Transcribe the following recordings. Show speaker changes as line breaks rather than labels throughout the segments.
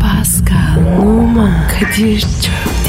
Pascal, Oman, Kadir çok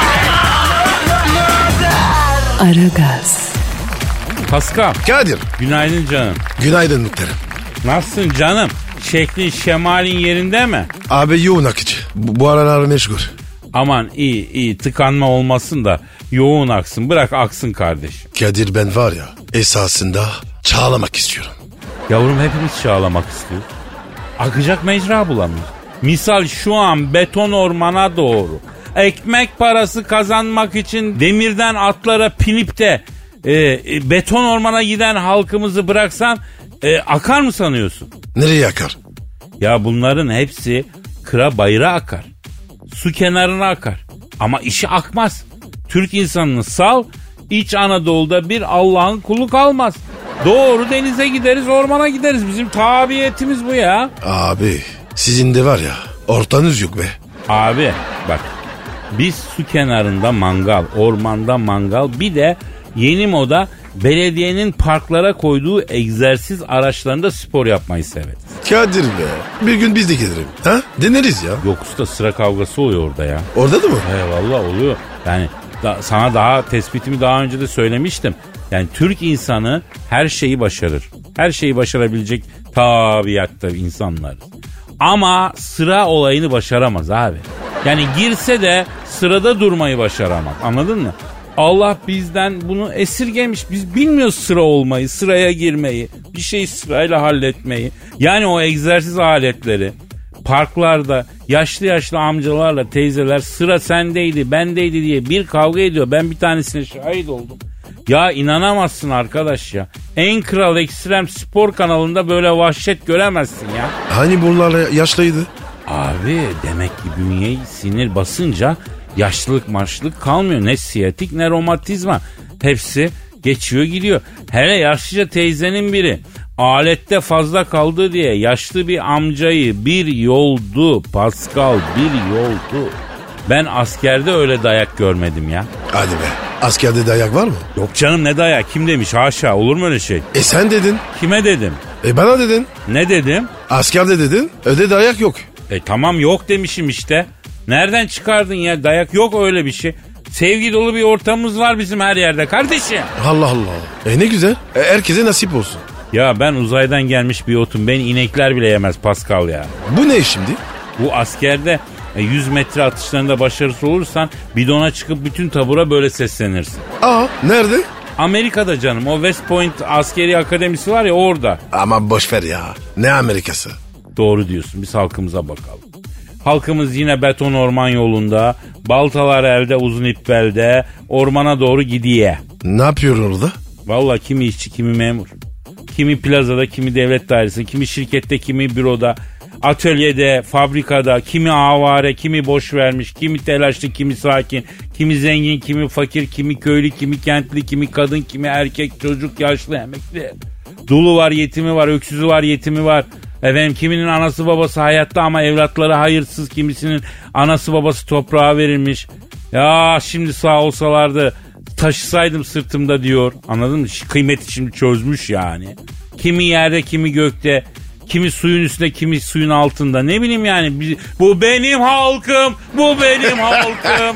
Aragaz,
Paskal,
Kadir.
günaydın canım.
Günaydın muhterem.
Nasılsın canım? Şeklin şemalin yerinde mi?
Abi yoğun akıcı. Bu, bu aralar meşgul.
Aman iyi iyi tıkanma olmasın da yoğun aksın. Bırak aksın kardeşim.
Kadir ben var ya esasında çağlamak istiyorum.
Yavrum hepimiz çağlamak istiyor. Akacak mecra bulamıyor. Misal şu an beton ormana doğru. Ekmek parası kazanmak için demirden atlara pinip de e, e, beton ormana giden halkımızı bıraksan e, akar mı sanıyorsun?
Nereye akar?
Ya bunların hepsi kıra bayıra akar. Su kenarına akar. Ama işi akmaz. Türk insanını sal, iç Anadolu'da bir Allah'ın kulu kalmaz. Doğru denize gideriz, ormana gideriz. Bizim tabiyetimiz bu ya.
Abi sizin de var ya ortanız yok be.
Abi bak biz su kenarında mangal, ormanda mangal bir de yeni moda belediyenin parklara koyduğu egzersiz araçlarında spor yapmayı severiz.
Kadir be. Bir gün biz de gelirim. Ha? Deneriz ya.
Yok usta sıra kavgası oluyor orada ya.
Orada da mı?
He valla oluyor. Yani da- sana daha tespitimi daha önce de söylemiştim. Yani Türk insanı her şeyi başarır. Her şeyi başarabilecek tabiatta insanlar. Ama sıra olayını başaramaz abi. Yani girse de sırada durmayı başaramaz. Anladın mı? Allah bizden bunu esirgemiş. Biz bilmiyoruz sıra olmayı, sıraya girmeyi, bir şeyi sırayla halletmeyi. Yani o egzersiz aletleri parklarda yaşlı yaşlı amcalarla teyzeler sıra sendeydi bendeydi diye bir kavga ediyor. Ben bir tanesine şahit oldum. Ya inanamazsın arkadaş ya. En kral ekstrem spor kanalında böyle vahşet göremezsin ya.
Hani bunlarla yaşlıydı?
Abi demek ki bünyeyi sinir basınca yaşlılık marşlılık kalmıyor. Ne siyatik ne romatizma. Hepsi geçiyor gidiyor. Hele yaşlıca teyzenin biri alette fazla kaldı diye yaşlı bir amcayı bir yoldu. Pascal bir yoldu. Ben askerde öyle dayak görmedim ya.
Hadi be. Askerde dayak var mı?
Yok canım ne dayak kim demiş haşa olur mu öyle şey?
E sen dedin.
Kime dedim?
E bana dedin.
Ne dedim?
Askerde dedin. Öde dayak yok.
E tamam yok demişim işte. Nereden çıkardın ya dayak yok öyle bir şey. Sevgi dolu bir ortamımız var bizim her yerde kardeşim.
Allah Allah. E ne güzel. E, herkese nasip olsun.
Ya ben uzaydan gelmiş bir otum. Beni inekler bile yemez Pascal ya.
Bu ne şimdi?
Bu askerde e, 100 metre atışlarında başarısız olursan bidona çıkıp bütün tabura böyle seslenirsin.
Aa nerede?
Amerika'da canım o West Point askeri akademisi var ya orada.
Ama boşver ya. Ne Amerikası?
Doğru diyorsun. Biz halkımıza bakalım. Halkımız yine beton orman yolunda, baltalar elde, uzun ip belde, ormana doğru gidiye.
Ne yapıyorsun orada?
Valla kimi işçi, kimi memur. Kimi plazada, kimi devlet dairesi, kimi şirkette, kimi büroda, atölyede, fabrikada, kimi avare, kimi boş vermiş, kimi telaşlı, kimi sakin, kimi zengin, kimi fakir, kimi köylü, kimi kentli, kimi kadın, kimi erkek, çocuk, yaşlı, emekli. Dulu var, yetimi var, öksüzü var, yetimi var. Efendim kiminin anası babası hayatta ama evlatları hayırsız, kimisinin anası babası toprağa verilmiş. Ya şimdi sağ olsalardı taşısaydım sırtımda diyor. Anladın mı? Ş- Kıymeti şimdi çözmüş yani. Kimi yerde, kimi gökte, kimi suyun üstünde, kimi suyun altında. Ne bileyim yani. Bi- Bu benim halkım, bu benim halkım.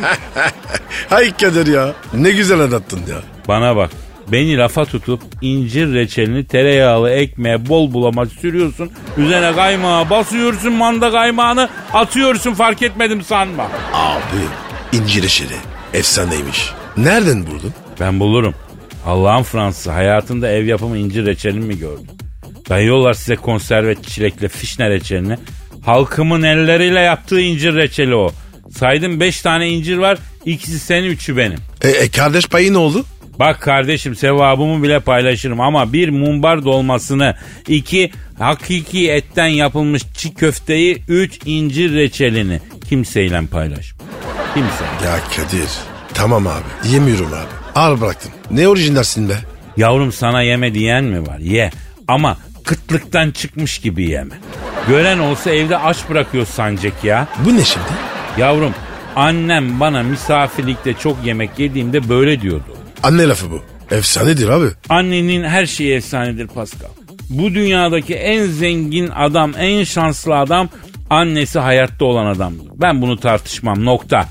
Hay Kadir ya. Ne güzel anlattın ya.
Bana bak. Beni lafa tutup incir reçelini tereyağlı ekmeğe bol bulama sürüyorsun. Üzerine kaymağı basıyorsun, manda kaymağını atıyorsun fark etmedim sanma.
Abi incir eşeri. Efsaneymiş. Nereden buldun?
Ben bulurum. Allah'ın Fransız hayatında ev yapımı incir reçelini mi gördün? Dayıyorlar size konserve çilekle fişne reçelini. Halkımın elleriyle yaptığı incir reçeli o. Saydım 5 tane incir var. ikisi senin, üçü benim.
E, e, kardeş payı ne oldu?
Bak kardeşim sevabımı bile paylaşırım ama bir mumbar dolmasını, iki hakiki etten yapılmış çiğ köfteyi, üç incir reçelini kimseyle paylaşma. Kimse.
Ya Kadir. Tamam abi. Yemiyorum abi. Al bıraktım. Ne orijinalsin be?
Yavrum sana yeme diyen mi var? Ye. Ama kıtlıktan çıkmış gibi yeme. Gören olsa evde aç bırakıyor sancak ya.
Bu ne şimdi?
Yavrum annem bana misafirlikte çok yemek yediğimde böyle diyordu.
Anne lafı bu. Efsanedir abi.
Annenin her şeyi efsanedir Pascal. Bu dünyadaki en zengin adam, en şanslı adam annesi hayatta olan adamdır. Ben bunu tartışmam nokta.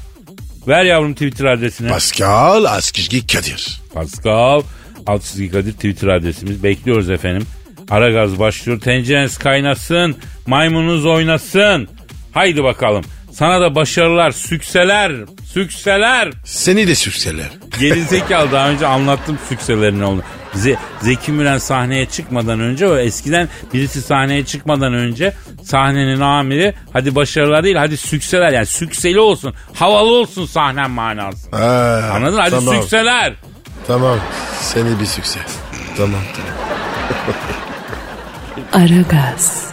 Ver yavrum Twitter adresini.
Pascal Askizgi Kadir.
Pascal Altçizgi Kadir Twitter adresimiz. Bekliyoruz efendim. Aragaz başlıyor. Tencereniz kaynasın. Maymununuz oynasın. Haydi bakalım. Sana da başarılar, sükseler, sükseler.
Seni de sükseler.
Geri zekalı daha önce anlattım sükselerin onu. Ze- Zeki Müren sahneye çıkmadan önce o eskiden birisi sahneye çıkmadan önce sahnenin amiri hadi başarılar değil hadi sükseler yani sükseli olsun havalı olsun sahnen manası.
Ha,
Anladın? Hadi
tamam,
sükseler.
Tamam. Seni bir sükses. Tamam tamam.
Aragaz.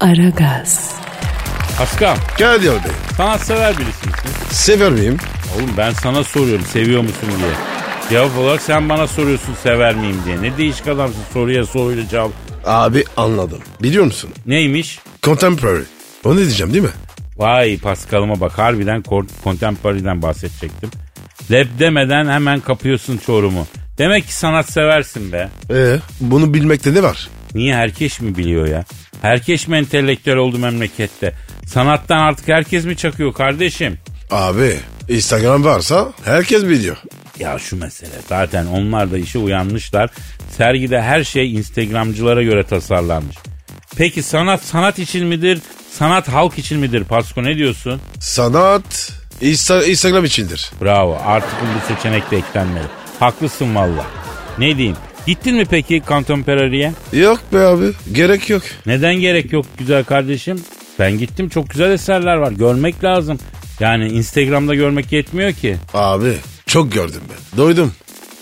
Aragaz.
Askam
Kadir Bey.
sanatsever birisi misin?
Sever miyim?
Oğlum ben sana soruyorum seviyor musun diye. Cevap olarak sen bana soruyorsun sever miyim diye. Ne değişik adamsın soruya soruyla cevap.
Abi anladım. Biliyor musun?
Neymiş?
Contemporary. O ne diyeceğim değil mi?
Vay Paskal'ıma bak harbiden kor- contemporary'den bahsedecektim. Rap demeden hemen kapıyorsun çorumu. Demek ki sanat seversin be.
Ee, bunu bilmekte ne var?
Niye herkes mi biliyor ya? Herkes mi entelektüel oldu memlekette? Sanattan artık herkes mi çakıyor kardeşim?
Abi Instagram varsa herkes biliyor.
Ya şu mesele zaten onlar da işe uyanmışlar. Sergide her şey Instagramcılara göre tasarlanmış. Peki sanat sanat için midir? Sanat halk için midir Pasko ne diyorsun?
Sanat Insta- Instagram içindir.
Bravo artık bu seçenek de eklenmeli. Haklısın valla. Ne diyeyim? Gittin mi peki Contemporary'e?
Yok be abi gerek yok.
Neden gerek yok güzel kardeşim? Ben gittim çok güzel eserler var görmek lazım. Yani Instagram'da görmek yetmiyor ki.
Abi çok gördüm ben. Doydum.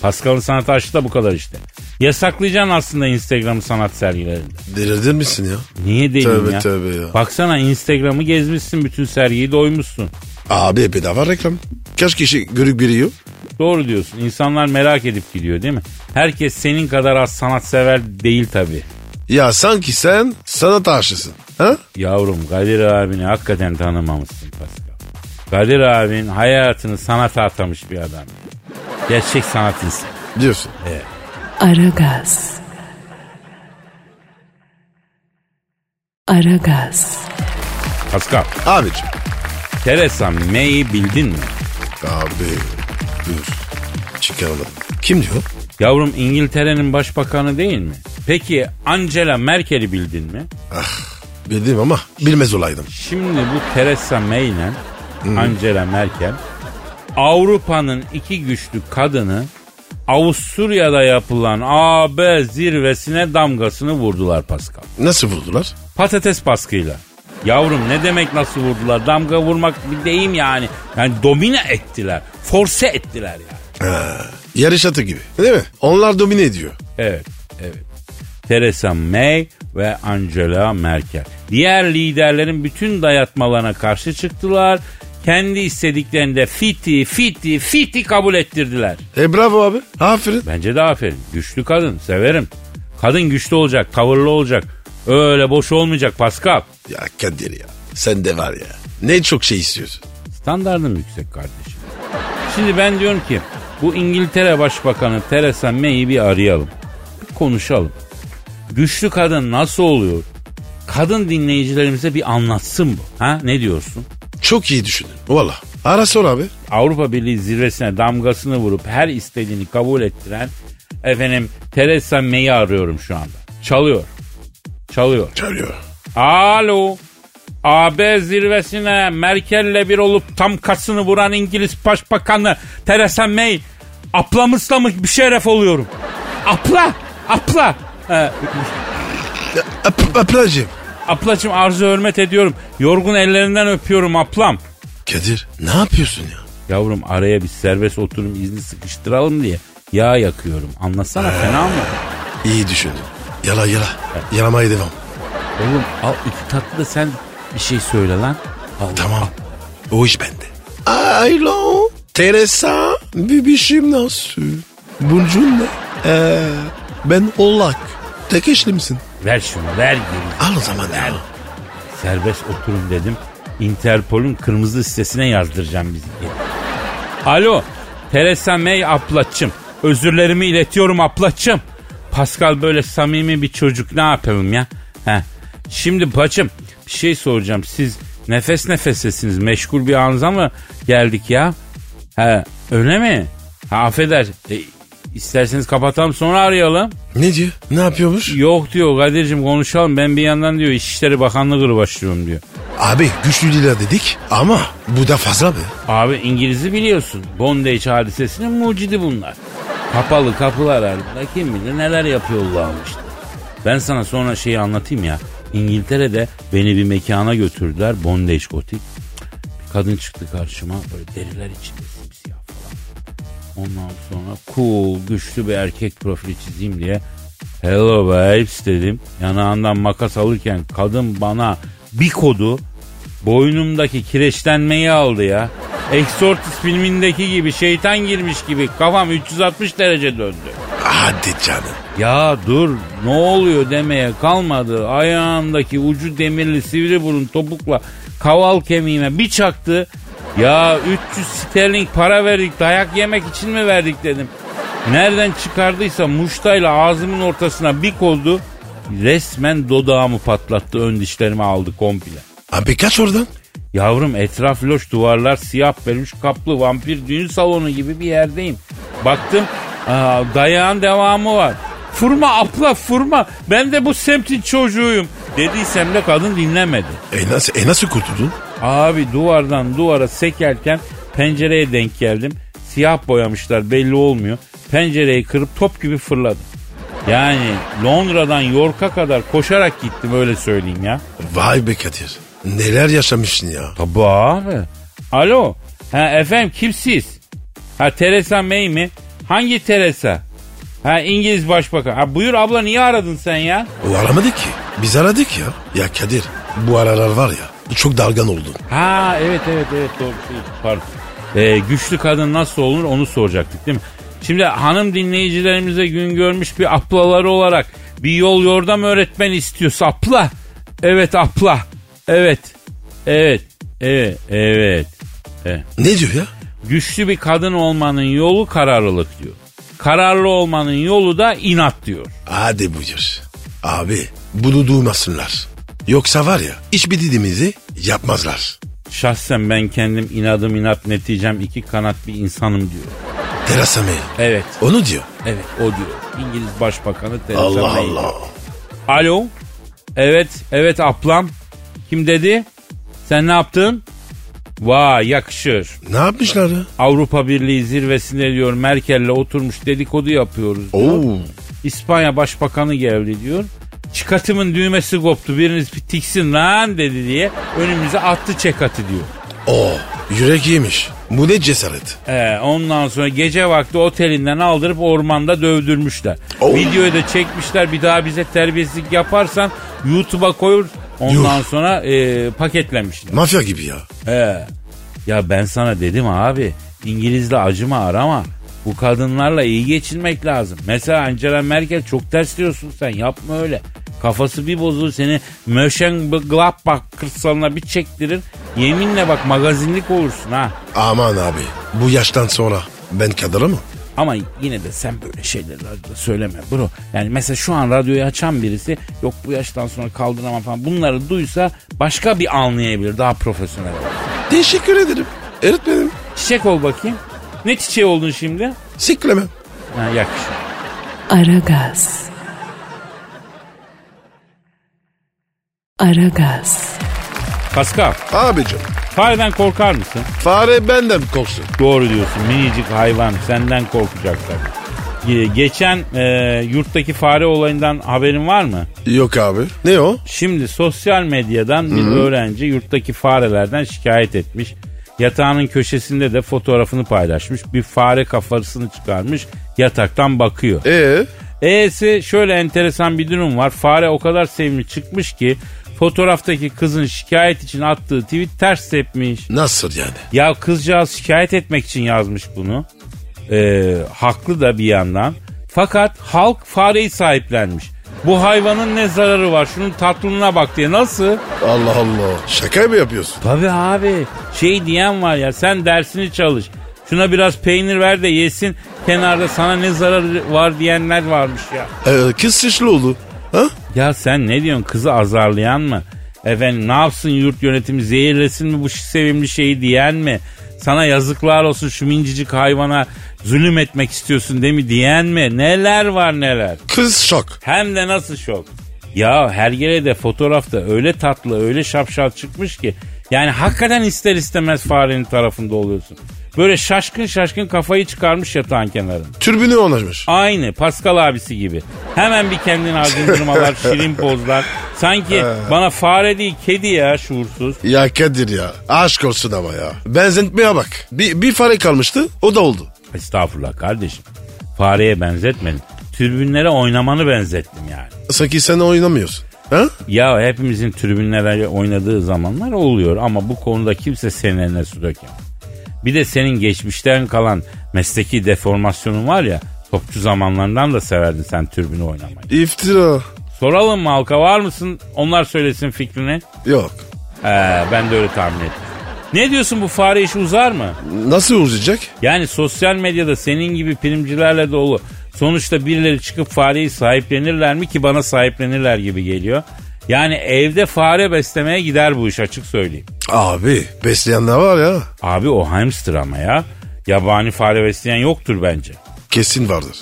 Pascal'ın sanat aşkı da bu kadar işte. Yasaklayacaksın aslında Instagram'ı sanat sergilerinde.
Delirdin misin ya?
Niye deliyim
Tövbe,
ya?
tövbe ya.
Baksana Instagram'ı gezmişsin bütün sergiyi doymuşsun.
Abi bedava reklam. Kaç kişi görüp giriyor?
Doğru diyorsun. İnsanlar merak edip gidiyor değil mi? Herkes senin kadar az sanatsever değil tabii.
Ya sanki sen sanat aşısın. Ha?
Yavrum Kadir abini hakikaten tanımamışsın Pascal. Kadir abin hayatını sanata atamış bir adam. Gerçek sanat insanı.
Diyorsun.
Aragaz. Aragaz.
Pascal,
Abicim.
Teresa May'i bildin mi?
Abi dur. Çıkaralım. Kim diyor?
Yavrum İngiltere'nin başbakanı değil mi? Peki Angela Merkel'i bildin mi?
Bildim ama bilmez olaydım.
Şimdi bu Theresa May ile Angela Merkel Avrupa'nın iki güçlü kadını Avusturya'da yapılan AB zirvesine damgasını vurdular Pascal.
Nasıl vurdular?
Patates baskıyla. Yavrum ne demek nasıl vurdular? Damga vurmak bir deyim yani. Yani domine ettiler. Force ettiler yani.
Yarış atı gibi. Değil mi? Onlar domine ediyor.
Evet, evet. Theresa May ve Angela Merkel. Diğer liderlerin bütün dayatmalarına karşı çıktılar. Kendi istediklerinde fiti, fiti, fiti kabul ettirdiler.
E bravo abi. Aferin.
Bence de aferin. Güçlü kadın, severim. Kadın güçlü olacak, tavırlı olacak. Öyle boş olmayacak Pascal.
Ya Kadir ya. Sen de var ya. Ne çok şey istiyorsun.
Standardım yüksek kardeşim. Şimdi ben diyorum ki bu İngiltere Başbakanı Theresa May'i bir arayalım. Bir konuşalım. Güçlü kadın nasıl oluyor? Kadın dinleyicilerimize bir anlatsın bu. Ha ne diyorsun?
Çok iyi düşündün. Valla. Ara sor abi.
Avrupa Birliği zirvesine damgasını vurup her istediğini kabul ettiren efendim Theresa May'i arıyorum şu anda. Çalıyor. Çalıyor.
Çalıyor.
Alo. AB zirvesine Merkel'le bir olup tam kasını vuran İngiliz Başbakanı Theresa May aplamışlamış bir şeref oluyorum. Apla, apla. Ee,
Ap- ablacığım.
aplacım arzu hürmet ediyorum. Yorgun ellerinden öpüyorum aplam.
Kadir ne yapıyorsun ya?
Yavrum araya bir serbest oturum izni sıkıştıralım diye yağ yakıyorum. Anlasana fena mı?
İyi düşündün. Yala yala. Yalamaya devam.
Oğlum al iki tatlı da sen Bir şey söyle lan.
Tamam. O iş bende. Alo. Teresa. Bibişim nasıl? Burcun ne? Ee, ben Oğlak. Tek eşli misin?
Ver şunu ver geri.
Al o zaman al.
Serbest oturun dedim. Interpol'ün kırmızı listesine yazdıracağım bizi. diye. Alo. Teresa May aplaçım. Özürlerimi iletiyorum aplaçım. Pascal böyle samimi bir çocuk ne yapalım ya? He. Şimdi paçım bir şey soracağım. Siz nefes nefesesiniz. Meşgul bir anıza mı geldik ya? He öyle mi? Ha affeder. E, isterseniz kapatalım sonra arayalım.
Ne diyor? Ne yapıyormuş?
Yok diyor Kadir'cim konuşalım ben bir yandan diyor İçişleri Bakanlığı grubu başlıyorum diyor.
Abi güçlü dila dedik ama bu da fazla be.
Abi İngiliz'i biliyorsun. Bondage hadisesinin mucidi bunlar. Kapalı kapılar ardında kim bilir neler yapıyorlarmış. Ben sana sonra şeyi anlatayım ya. İngiltere'de beni bir mekana götürdüler. Bondage gotik. Bir kadın çıktı karşıma böyle deriler içinde simsiyah falan. Ondan sonra cool güçlü bir erkek profili çizeyim diye hello babes dedim. Yanağından makas alırken kadın bana bir kodu boynumdaki kireçlenmeyi aldı ya. Exorcist filmindeki gibi şeytan girmiş gibi kafam 360 derece döndü.
Hadi canım.
Ya dur ne oluyor demeye kalmadı. Ayağımdaki ucu demirli sivri burun topukla kaval kemiğime bir çaktı. Ya 300 sterling para verdik dayak yemek için mi verdik dedim. Nereden çıkardıysa muştayla ağzımın ortasına bir koldu. Resmen dodağımı patlattı ön dişlerimi aldı komple.
Abi kaç oradan?
Yavrum etraf loş duvarlar siyah peluş kaplı vampir düğün salonu gibi bir yerdeyim. Baktım aa, dayağın devamı var. Furma abla furma ben de bu semtin çocuğuyum dediysem de kadın dinlemedi.
E nasıl, e nasıl kurtuldun?
Abi duvardan duvara sekerken pencereye denk geldim. Siyah boyamışlar belli olmuyor. Pencereyi kırıp top gibi fırladım. Yani Londra'dan York'a kadar koşarak gittim öyle söyleyeyim ya.
Vay be Kadir. Neler yaşamışsın ya.
Tabii abi. Alo. Ha efendim kimsiz? Ha Teresa May mi? Hangi Teresa? Ha İngiliz Başbakan. Ha buyur abla niye aradın sen ya?
O aramadı ki. Biz aradık ya. Ya Kadir bu aralar var ya çok dalgan oldun.
Ha evet evet evet doğru. Şey, Pardon. Ee, güçlü kadın nasıl olur onu soracaktık değil mi? Şimdi hanım dinleyicilerimize gün görmüş bir aplaları olarak bir yol yordam öğretmen istiyorsa apla. Evet apla. Evet. Evet. Evet. Evet. Evet.
Ne diyor ya?
Güçlü bir kadın olmanın yolu kararlılık diyor. Kararlı olmanın yolu da inat diyor.
Hadi buyur. Abi bunu duymasınlar. Yoksa var ya hiçbir dediğimizi yapmazlar.
Şahsen ben kendim inadım inat neticem iki kanat bir insanım diyor.
Terasa May.
Evet,
Onu diyor.
evet o diyor. İngiliz Başbakanı Theresa
Allah
May.
Allah.
Alo. Evet, evet ablam. Kim dedi? Sen ne yaptın? Vay yakışır.
Ne yapmışlar ya?
Avrupa Birliği zirvesinde diyor Merkel'le oturmuş dedikodu yapıyoruz. diyor.
Oo.
İspanya Başbakanı geldi diyor. Çıkatımın düğmesi koptu biriniz bir tiksin lan dedi diye önümüze attı çekatı diyor.
Oo. Yürek yemiş. Bu ne cesaret?
Ee, ondan sonra gece vakti otelinden aldırıp ormanda dövdürmüşler.
Oh.
Videoyu da çekmişler bir daha bize terbiyesizlik yaparsan YouTube'a koyur. Ondan
Yuh.
sonra e, paketlemişler.
Mafya gibi ya.
Ee, ya ben sana dedim abi İngilizle acıma arama. Bu kadınlarla iyi geçinmek lazım. Mesela Angela Merkel çok ters diyorsun sen yapma öyle. Kafası bir bozulur seni Mönchengladbach kırsalına bir çektirir. Yeminle bak magazinlik olursun ha.
Aman abi bu yaştan sonra ben Kadir'a mı?
Ama yine de sen böyle şeyleri radyoda söyleme bro. Yani mesela şu an radyoyu açan birisi yok bu yaştan sonra kaldıramam falan bunları duysa başka bir anlayabilir daha profesyonel. olur.
Teşekkür ederim. Öğretmenim.
Çiçek ol bakayım. Ne çiçeği oldun şimdi?
Siklemem.
Ha, yakışır.
Aragaz. Aragaz.
Pascal,
Abicim
fareden korkar mısın?
fare benden korksun.
Doğru diyorsun minicik hayvan senden korkacaklar. Ee, Geçen e, yurttaki fare olayından haberin var mı?
Yok abi. Ne o?
Şimdi sosyal medyadan bir öğrenci yurttaki farelerden şikayet etmiş. Yatağının köşesinde de fotoğrafını paylaşmış. Bir fare kafasını çıkarmış yataktan bakıyor.
Ee?
E'si şöyle enteresan bir durum var. Fare o kadar sevimli çıkmış ki Fotoğraftaki kızın şikayet için attığı tweet ters tepmiş.
Nasıl yani?
Ya kızcağız şikayet etmek için yazmış bunu. Ee, haklı da bir yandan. Fakat halk fareyi sahiplenmiş. Bu hayvanın ne zararı var? Şunun tatlılığına bak diye. Nasıl?
Allah Allah. Şaka mı yapıyorsun?
Tabii abi. Şey diyen var ya sen dersini çalış. Şuna biraz peynir ver de yesin. Kenarda sana ne zararı var diyenler varmış ya.
Ee, kız şişli oldu. Ha?
Ya sen ne diyorsun kızı azarlayan mı? Efendim ne yapsın yurt yönetimi zehirlesin mi bu şi- sevimli şeyi diyen mi? Sana yazıklar olsun şu mincicik hayvana zulüm etmek istiyorsun değil mi diyen mi? Neler var neler.
Kız şok.
Hem de nasıl şok. Ya her yere de fotoğrafta öyle tatlı öyle şapşal çıkmış ki. Yani hakikaten ister istemez farenin tarafında oluyorsun. Böyle şaşkın şaşkın kafayı çıkarmış yatağın kenarına.
Türbünü onarmış.
Aynı Pascal abisi gibi. Hemen bir kendini acındırmalar, şirin pozlar. Sanki bana fare değil kedi ya şuursuz.
Ya Kadir ya. Aşk olsun ama ya. Benzetmeye bak. Bir, bir fare kalmıştı. O da oldu.
Estağfurullah kardeşim. Fareye benzetmedim. Tribünlere oynamanı benzettim yani.
Sanki sen oynamıyorsun. Ha?
Ya hepimizin tribünlere oynadığı zamanlar oluyor ama bu konuda kimse senin eline su dökemez. Bir de senin geçmişten kalan mesleki deformasyonun var ya topçu zamanlarından da severdin sen tribünü oynamayı.
İftira.
Soralım mı halka var mısın? Onlar söylesin fikrini.
Yok.
Ee, ben de öyle tahmin ettim. Ne diyorsun bu fare işi uzar mı?
Nasıl uzayacak?
Yani sosyal medyada senin gibi primcilerle dolu. Sonuçta birileri çıkıp fareyi sahiplenirler mi ki bana sahiplenirler gibi geliyor. Yani evde fare beslemeye gider bu iş açık söyleyeyim.
Abi besleyenler var ya.
Abi o hamster ama ya. Yabani fare besleyen yoktur bence.
Kesin vardır.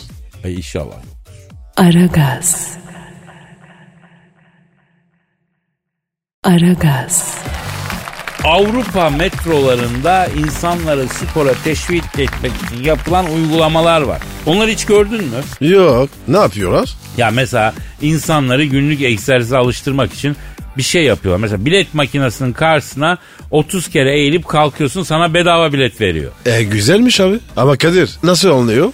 E inşallah.
Aragaz. Aragaz.
Avrupa metrolarında insanları spora teşvik etmek için yapılan uygulamalar var. Onları hiç gördün mü?
Yok. Ne yapıyorlar?
Ya mesela insanları günlük egzersize alıştırmak için bir şey yapıyorlar. Mesela bilet makinesinin karşısına 30 kere eğilip kalkıyorsun sana bedava bilet veriyor.
E güzelmiş abi. Ama Kadir nasıl anlıyor?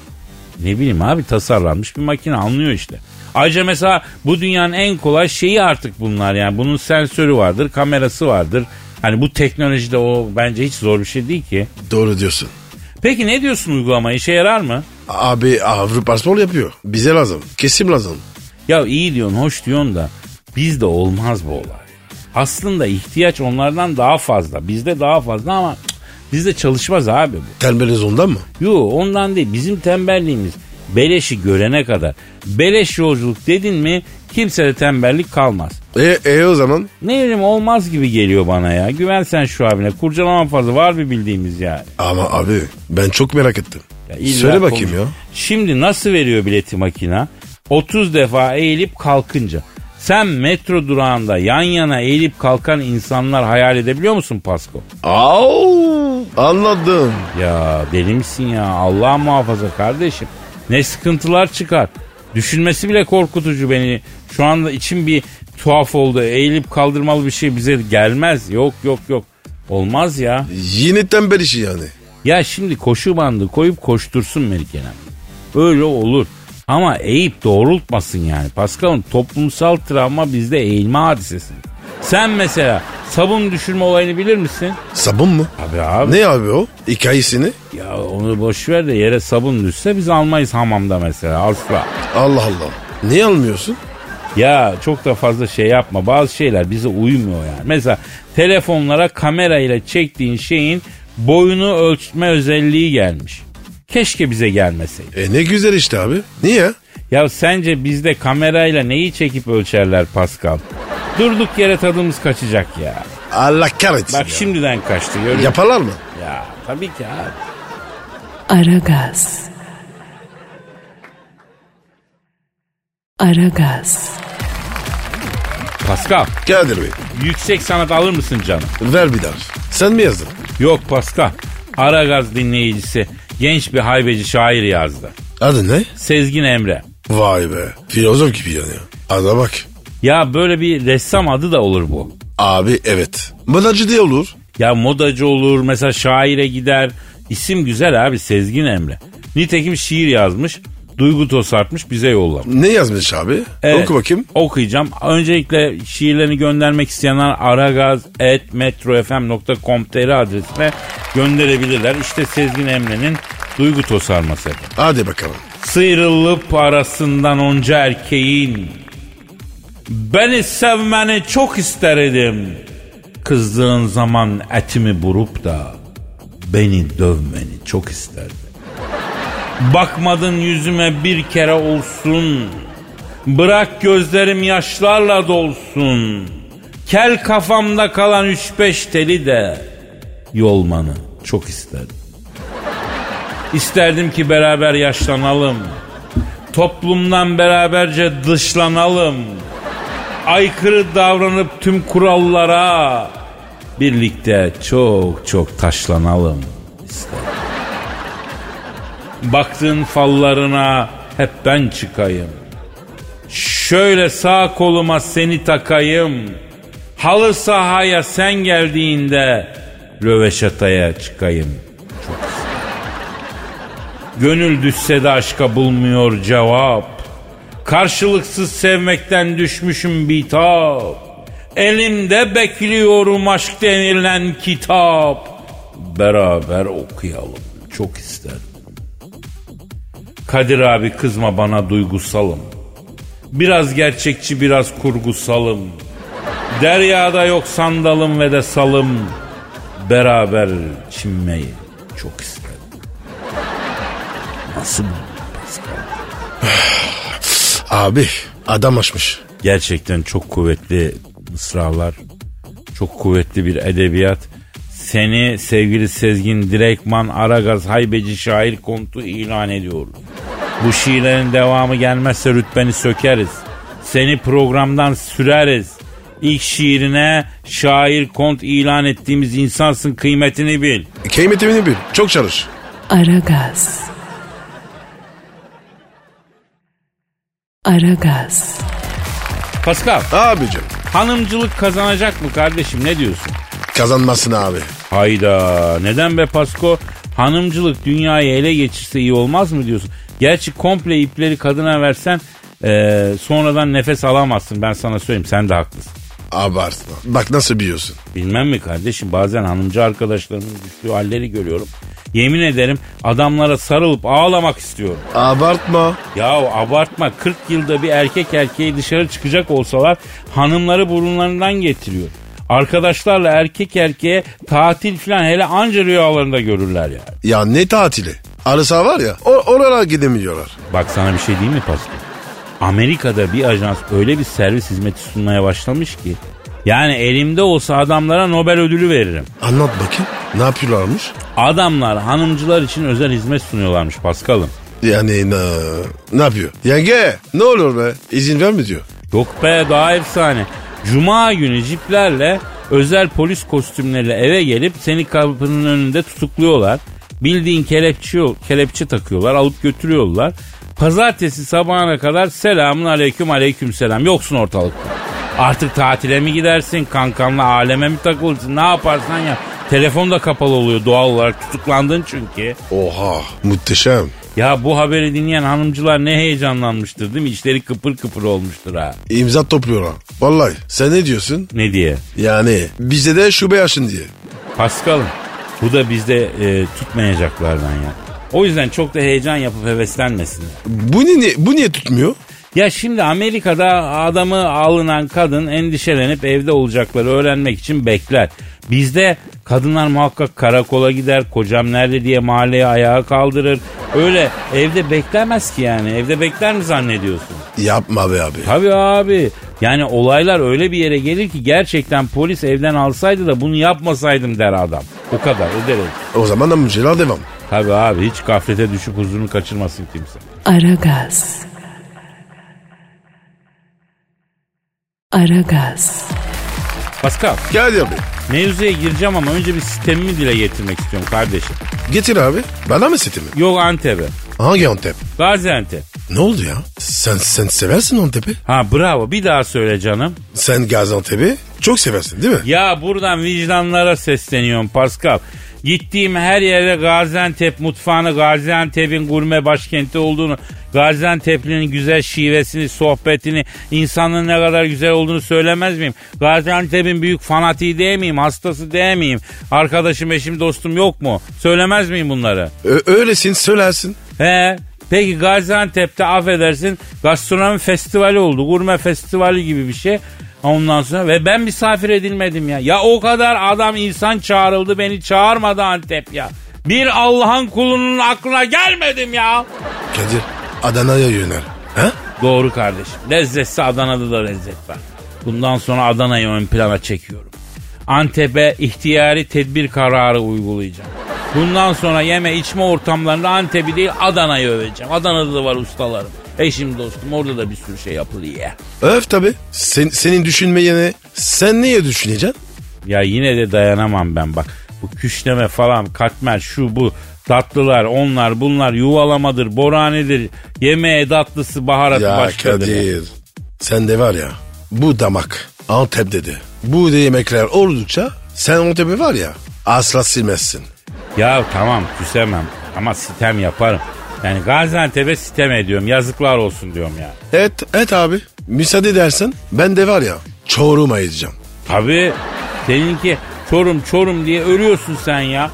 Ne bileyim abi tasarlanmış bir makine anlıyor işte. Ayrıca mesela bu dünyanın en kolay şeyi artık bunlar yani bunun sensörü vardır kamerası vardır. Hani bu teknolojide o bence hiç zor bir şey değil ki.
Doğru diyorsun.
Peki ne diyorsun uygulama işe yarar mı?
Abi Avrupa spor yapıyor. Bize lazım. Kesim lazım.
Ya iyi diyorsun, hoş diyorsun da bizde olmaz bu olay. Aslında ihtiyaç onlardan daha fazla. Bizde daha fazla ama cık, bizde çalışmaz abi bu.
Tembeliz ondan mı?
Yo ondan değil. Bizim tembelliğimiz beleşi görene kadar. Beleş yolculuk dedin mi kimsede tembellik kalmaz.
E, e o zaman?
Ne bileyim olmaz gibi geliyor bana ya. Güven sen şu abine. Kurcalama fazla var bir bildiğimiz yani.
Ama abi ben çok merak ettim.
Ya illa
Söyle bakayım
konuş-
ya.
Şimdi nasıl veriyor bileti makina? 30 defa eğilip kalkınca. Sen metro durağında yan yana eğilip kalkan insanlar hayal edebiliyor musun Pasko?
Au, anladım.
Ya deli misin ya Allah muhafaza kardeşim. Ne sıkıntılar çıkar. Düşünmesi bile korkutucu beni. Şu anda içim bir tuhaf oldu. Eğilip kaldırmalı bir şey bize gelmez. Yok yok yok. Olmaz ya.
Yine tembel işi yani.
Ya şimdi koşu bandı koyup koştursun Melikenem. Öyle olur. Ama eğip doğrultmasın yani. Pascal'ın toplumsal travma bizde eğilme hadisesi. Sen mesela sabun düşürme olayını bilir misin?
Sabun mu?
Abi abi.
Ne abi o? Hikayesini?
Ya onu boş ver de yere sabun düşse biz almayız hamamda mesela asla.
Allah Allah. Niye almıyorsun?
Ya çok da fazla şey yapma. Bazı şeyler bize uymuyor yani. Mesela telefonlara kamera ile çektiğin şeyin boyunu ölçme özelliği gelmiş. Keşke bize gelmeseydi.
E ne güzel işte abi. Niye?
Ya sence bizde kamerayla neyi çekip ölçerler Pascal? Durduk yere tadımız kaçacak ya.
Allah kahretsin
Bak
ya.
şimdiden kaçtı görüyor musun?
Yaparlar mı?
Ya tabii ki abi.
Aragaz. Aragaz.
Pascal
Kadir Bey
yüksek sanat alır mısın canım?
ver bir daha. Sen mi yazdın?
Yok Pascal. Aragaz dinleyicisi genç bir haybeci şair yazdı.
Adı ne?
Sezgin Emre.
Vay be. Filozof gibi yani. Ada bak.
Ya böyle bir ressam adı da olur bu.
Abi evet. Manacı diye olur.
Ya modacı olur mesela şaire gider. İsim güzel abi Sezgin Emre. Nitekim şiir yazmış. Duygu tosartmış bize yollamış.
Ne yazmış abi?
Evet,
Oku bakayım.
Okuyacağım. Öncelikle şiirlerini göndermek isteyenler aragaz.metrofm.com.tr adresine gönderebilirler. İşte Sezgin Emre'nin duygu tosarması.
Hadi bakalım.
Sıyrılıp arasından onca erkeğin Beni sevmeni çok isterdim Kızdığın zaman etimi burup da Beni dövmeni çok isterdim Bakmadın yüzüme bir kere olsun Bırak gözlerim yaşlarla dolsun Kel kafamda kalan üç beş teli de Yolmanı çok isterdim İsterdim ki beraber yaşlanalım. Toplumdan beraberce dışlanalım. Aykırı davranıp tüm kurallara birlikte çok çok taşlanalım isterdim. Baktığın fallarına hep ben çıkayım. Şöyle sağ koluma seni takayım. Halı sahaya sen geldiğinde röveşataya çıkayım. Gönül düşse de aşka bulmuyor cevap. Karşılıksız sevmekten düşmüşüm bitap. Elimde bekliyorum aşk denilen kitap. Beraber okuyalım çok isterim. Kadir abi kızma bana duygusalım. Biraz gerçekçi biraz kurgusalım. Deryada yok sandalım ve de salım. Beraber çinmeyi çok isterim. Nasıl
Abi adam açmış.
Gerçekten çok kuvvetli mısralar, çok kuvvetli bir edebiyat. Seni sevgili Sezgin Direkman Aragaz Haybeci Şair Kontu ilan ediyoruz. Bu şiirlerin devamı gelmezse rütbeni sökeriz. Seni programdan süreriz. İlk şiirine şair kont ilan ettiğimiz insansın kıymetini bil.
Kıymetimini bil. Çok çalış.
Aragaz. Aragaz.
Pascal
Abicim
hanımcılık kazanacak mı kardeşim ne diyorsun?
kazanmasın abi.
Hayda neden be Pasko? Hanımcılık dünyayı ele geçirse iyi olmaz mı diyorsun? Gerçi komple ipleri kadına versen eee, sonradan nefes alamazsın ben sana söyleyeyim sen de haklısın.
Abartma. Bak nasıl biliyorsun.
Bilmem mi kardeşim bazen hanımcı arkadaşlarımın düştüğü halleri görüyorum. Yemin ederim adamlara sarılıp ağlamak istiyorum.
Abartma.
Ya abartma 40 yılda bir erkek erkeği dışarı çıkacak olsalar hanımları burunlarından getiriyor. Arkadaşlarla erkek erkeğe tatil falan hele anca rüyalarında görürler ya.
Ya ne tatili? Arısa var ya o- oralara gidemiyorlar.
Bak sana bir şey diyeyim mi Pascal? Amerika'da bir ajans öyle bir servis hizmeti sunmaya başlamış ki. Yani elimde olsa adamlara Nobel ödülü veririm.
Anlat bakayım. Ne yapıyorlarmış?
Adamlar hanımcılar için özel hizmet sunuyorlarmış Paskal'ım.
Yani ne, ne yapıyor? Yenge ne olur be izin verme diyor.
Yok be daha efsane. Cuma günü ciplerle özel polis kostümleriyle eve gelip seni kapının önünde tutukluyorlar. Bildiğin kelepçe, kelepçe takıyorlar alıp götürüyorlar. Pazartesi sabahına kadar selamun aleyküm aleyküm selam yoksun ortalıkta. Artık tatile mi gidersin kankanla aleme mi takılırsın ne yaparsan yap. Telefon da kapalı oluyor doğal olarak tutuklandın çünkü.
Oha muhteşem.
Ya bu haberi dinleyen hanımcılar ne heyecanlanmıştır değil mi? İçleri kıpır kıpır olmuştur ha.
İmza topluyorlar. Vallahi sen ne diyorsun?
Ne diye?
Yani bize de şube açın diye.
Paskal'ım bu da bizde e, tutmayacaklardan ya. O yüzden çok da heyecan yapıp heveslenmesinler.
Bu niye, bu niye tutmuyor?
Ya şimdi Amerika'da adamı alınan kadın endişelenip evde olacakları öğrenmek için bekler. Bizde kadınlar muhakkak karakola gider, kocam nerede diye mahalleye ayağa kaldırır. Öyle evde beklemez ki yani. Evde bekler mi zannediyorsun?
Yapma be abi.
Tabii abi. Yani olaylar öyle bir yere gelir ki gerçekten polis evden alsaydı da bunu yapmasaydım der adam. O kadar o derece.
O zaman amcalar devam.
Tabii abi hiç gaflete düşüp huzurunu kaçırmasın kimse.
Aragaz. Aragaz.
Pascal
Gel abi.
mevzuya gireceğim ama önce bir sistemimi dile getirmek istiyorum kardeşim.
Getir abi. Bana mı seti mi?
Yok Antep'e.
Hangi Antep?
Gaziantep.
Ne oldu ya? Sen sen seversin Antep'i.
Ha bravo bir daha söyle canım.
Sen Gaziantep'i çok seversin değil mi?
Ya buradan vicdanlara sesleniyorum Pascal. Gittiğim her yere Gaziantep mutfağını, Gaziantep'in gurme başkenti olduğunu, Gaziantep'linin güzel şivesini, sohbetini, insanın ne kadar güzel olduğunu söylemez miyim? Gaziantep'in büyük fanatiği değil miyim? Hastası değil miyim? Arkadaşım, eşim, dostum yok mu? Söylemez miyim bunları?
Ö- öylesin söylersin.
He. Peki Gaziantep'te affedersin gastronomi festivali oldu. Gurme festivali gibi bir şey. Ondan sonra ve ben misafir edilmedim ya. Ya o kadar adam insan çağrıldı beni çağırmadı Antep ya. Bir Allah'ın kulunun aklına gelmedim ya.
Kadir Adana'ya yönel. Ha?
Doğru kardeşim. Lezzetse Adana'da da lezzet var. Bundan sonra Adana'yı ön plana çekiyorum. Antep'e ihtiyari tedbir kararı uygulayacağım. Bundan sonra yeme içme ortamlarında Antep'i değil Adana'yı öveceğim. Adana'da da var ustalarım. Eşim dostum orada da bir sürü şey yapılıyor. ya.
Öf tabi. Sen, senin düşünmeyene sen niye düşüneceksin?
Ya yine de dayanamam ben bak. Bu küşleme falan katmer şu bu tatlılar onlar bunlar yuvalamadır boranidir yemeğe tatlısı baharatı
ya
başkadır.
Kadir. Sen de var ya bu damak Antep dedi. Bu de yemekler oldukça sen Antep'i var ya asla silmezsin.
Ya tamam küsemem ama sitem yaparım. Yani Gaziantep'e sitem ediyorum. Yazıklar olsun diyorum ya.
Evet, evet abi. Müsaade edersen ben de var ya çorum ayıracağım.
Tabii seninki Çorum Çorum diye ölüyorsun sen ya.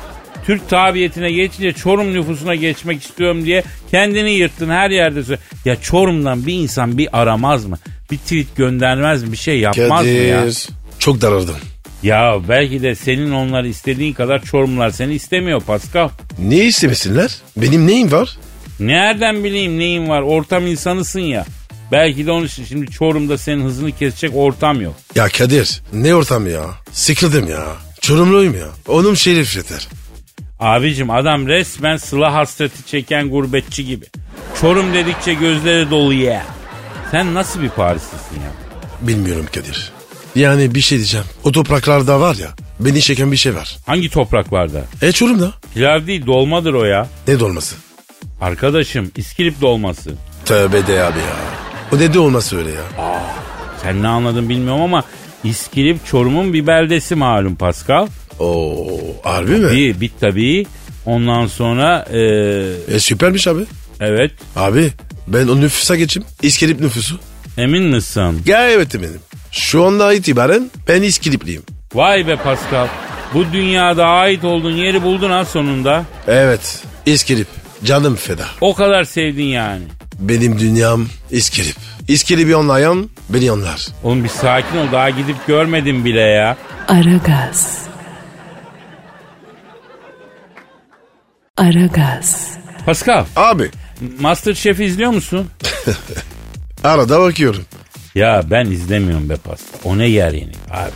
Türk tabiyetine geçince Çorum nüfusuna geçmek istiyorum diye kendini yırttın her yerde. sö- Ya Çorum'dan bir insan bir aramaz mı? Bir tweet göndermez mi? Bir şey yapmaz mı ya?
Kadir. Çok daraldım.
Ya belki de senin onları istediğin kadar Çorumlar seni istemiyor Pascal.
Niye istemesinler? Benim neyim var?
Nereden bileyim neyin var? Ortam insanısın ya. Belki de onun için şimdi Çorum'da senin hızını kesecek ortam yok.
Ya Kadir ne ortam ya? Sıkıldım ya. Çorumluyum ya. Onum şerif yeter.
Abicim adam resmen sıla hasreti çeken gurbetçi gibi. Çorum dedikçe gözleri dolu ya. Sen nasıl bir Parislisin ya?
Bilmiyorum Kadir. Yani bir şey diyeceğim. O topraklarda var ya beni çeken bir şey var.
Hangi topraklarda?
E Çorum'da.
Pilav değil dolmadır o ya.
Ne dolması?
Arkadaşım iskilip dolması.
Tövbe de abi ya. O ne de olması öyle ya.
Sen ne anladın bilmiyorum ama iskilip Çorum'un bir beldesi malum Pascal.
Oo harbi mi?
Bir bit tabii. Ondan sonra eee,
E süpermiş abi.
evet
Abi ben o nüfusa geçeyim. İskilip nüfusu.
emin misin?
Ya evet benim. Şu anda itibaren ben İskilipliyim.
Vay be Pascal. Bu dünyada ait olduğun yeri buldun ha sonunda.
Evet İskilip. Canım feda.
O kadar sevdin yani.
Benim dünyam İskilip. İskilip'i anlayan beni anlar.
Oğlum bir sakin ol daha gidip görmedim bile ya.
Aragaz. Aragaz.
Pascal,
Abi
Masterchef'i izliyor musun?
arada bakıyorum.
Ya ben izlemiyorum be Pascal. O ne yer yeni abi.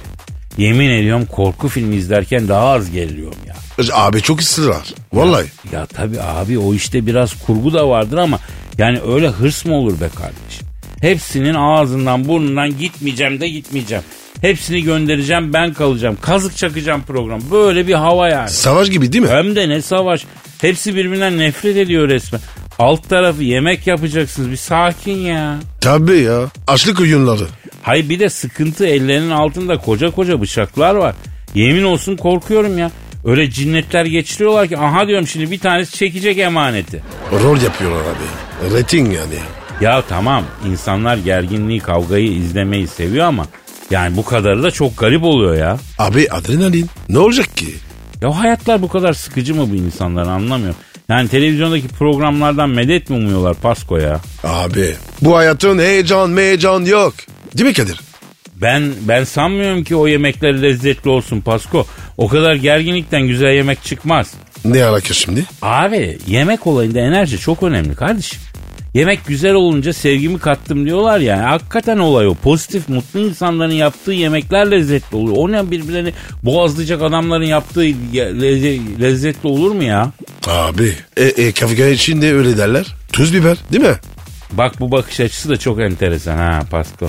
Yemin ediyorum korku filmi izlerken daha az geriliyorum ya.
Abi çok ısrar. Vallahi.
Ya tabii abi o işte biraz kurgu da vardır ama yani öyle hırs mı olur be kardeşim? Hepsinin ağzından burnundan gitmeyeceğim de gitmeyeceğim. Hepsini göndereceğim ben kalacağım. Kazık çakacağım program. Böyle bir hava yani.
Savaş gibi değil mi?
Hem de ne savaş. Hepsi birbirinden nefret ediyor resmen. Alt tarafı yemek yapacaksınız bir sakin ya.
Tabii ya. Açlık oyunları.
Hay bir de sıkıntı ellerinin altında koca koca bıçaklar var. Yemin olsun korkuyorum ya. Öyle cinnetler geçiriyorlar ki aha diyorum şimdi bir tanesi çekecek emaneti.
Rol yapıyorlar abi. Rating yani.
Ya tamam insanlar gerginliği kavgayı izlemeyi seviyor ama yani bu kadarı da çok garip oluyor ya.
Abi adrenalin. Ne olacak ki?
Ya hayatlar bu kadar sıkıcı mı bu insanlar anlamıyorum. Yani televizyondaki programlardan medet mi umuyorlar Pasko ya?
Abi bu hayatın heyecan meyecan yok. Değil mi Kadir?
Ben ben sanmıyorum ki o yemekler lezzetli olsun Pasko. O kadar gerginlikten güzel yemek çıkmaz.
Ne alaka şimdi?
Abi yemek olayında enerji çok önemli kardeşim. Yemek güzel olunca sevgimi kattım diyorlar ya. Hakikaten olay o. Pozitif, mutlu insanların yaptığı yemekler lezzetli oluyor. O ne birbirlerini boğazlayacak adamların yaptığı ye- lezze- lezzetli olur mu ya?
Abi. E, e kafka için de öyle derler. Tuz biber değil mi?
Bak bu bakış açısı da çok enteresan ha Pasko.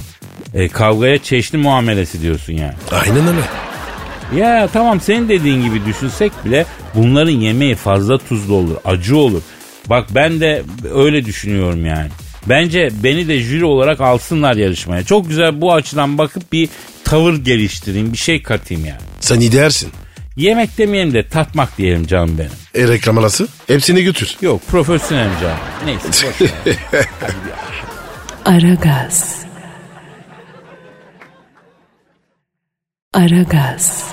E, kavgaya çeşni muamelesi diyorsun yani.
Aynen öyle.
Ya tamam senin dediğin gibi düşünsek bile bunların yemeği fazla tuzlu olur, acı olur. Bak ben de öyle düşünüyorum yani. Bence beni de jüri olarak alsınlar yarışmaya. Çok güzel bu açıdan bakıp bir tavır geliştireyim, bir şey katayım yani.
Sen iyi dersin.
Yemek demeyelim de tatmak diyelim canım benim.
E reklam arası? Hepsini götür.
Yok profesyonelim canım. Neyse boş ver.
Aragaz. Aragaz.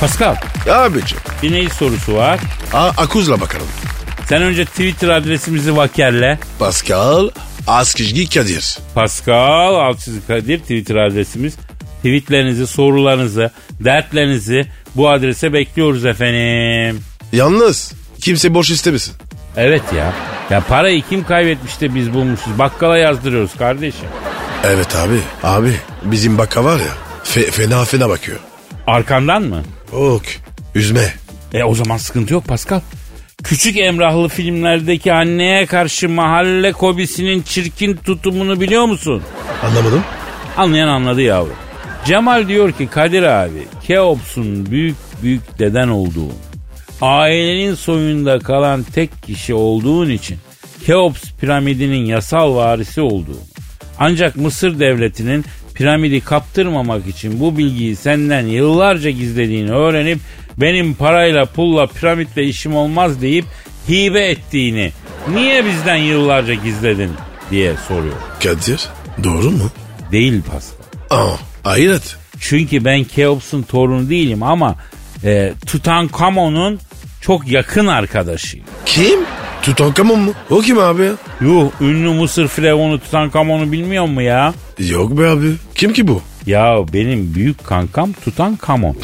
Pascal
Abicim.
bir neyi sorusu var.
A akuzla bakalım.
Sen önce Twitter adresimizi vakerle.
Pascal Askizgi Kadir.
Pascal Alçızı Kadir Twitter adresimiz. Tweetlerinizi, sorularınızı, dertlerinizi bu adrese bekliyoruz efendim.
Yalnız kimse borç istemesin.
Evet ya. Ya parayı kim kaybetmiş de biz bulmuşuz. Bakkala yazdırıyoruz kardeşim.
Evet abi. Abi bizim baka var ya fe- fena fena bakıyor.
Arkandan mı?
Ok. Üzme.
E o zaman sıkıntı yok Pascal. Küçük Emrahlı filmlerdeki anneye karşı mahalle kobisinin çirkin tutumunu biliyor musun?
Anlamadım.
Anlayan anladı yavrum. Cemal diyor ki Kadir abi Keops'un büyük büyük deden olduğun, ailenin soyunda kalan tek kişi olduğun için Keops piramidinin yasal varisi olduğun. Ancak Mısır devletinin piramidi kaptırmamak için bu bilgiyi senden yıllarca gizlediğini öğrenip benim parayla pulla piramitle işim olmaz deyip hibe ettiğini niye bizden yıllarca gizledin diye soruyor.
Kadir doğru mu?
Değil Pascal.
Aa hayret.
Çünkü ben Keops'un torunu değilim ama e, Tutankamon'un çok yakın arkadaşıyım.
Kim? Tutankamon mu? O kim abi ya?
Yuh ünlü Mısır Firavunu Tutankamon'u bilmiyor mu ya?
Yok be abi. Kim ki bu?
Ya benim büyük kankam Tutankamon.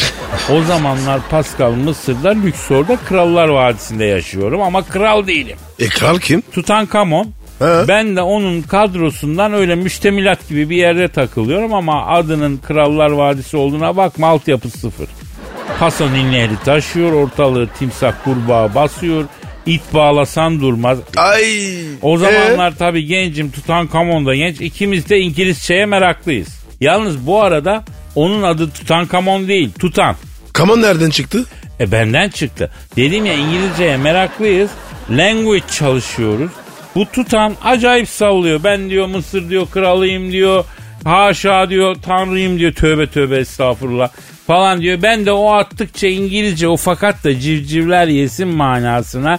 o zamanlar Pascal Mısır'da Lüksor'da Krallar Vadisi'nde yaşıyorum ama kral değilim.
E kral kim?
Tutankamon.
He.
Ben de onun kadrosundan öyle müştemilat gibi bir yerde takılıyorum ama adının Krallar Vadisi olduğuna bakma altyapısı sıfır. Paso nehri taşıyor, ortalığı timsah kurbağa basıyor, it bağlasan durmaz.
Ay. E?
O zamanlar tabii gencim Tutankamon da genç, ikimiz de İngilizceye meraklıyız. Yalnız bu arada onun adı Tutankamon değil, Tutan.
E, Kamon nereden çıktı?
E benden çıktı. Dedim ya İngilizceye meraklıyız. Language çalışıyoruz. Bu tutan acayip sallıyor. Ben diyor Mısır diyor kralıyım diyor. Haşa diyor tanrıyım diyor. Tövbe tövbe estağfurullah falan diyor. Ben de o attıkça İngilizce o fakat da civcivler yesin manasına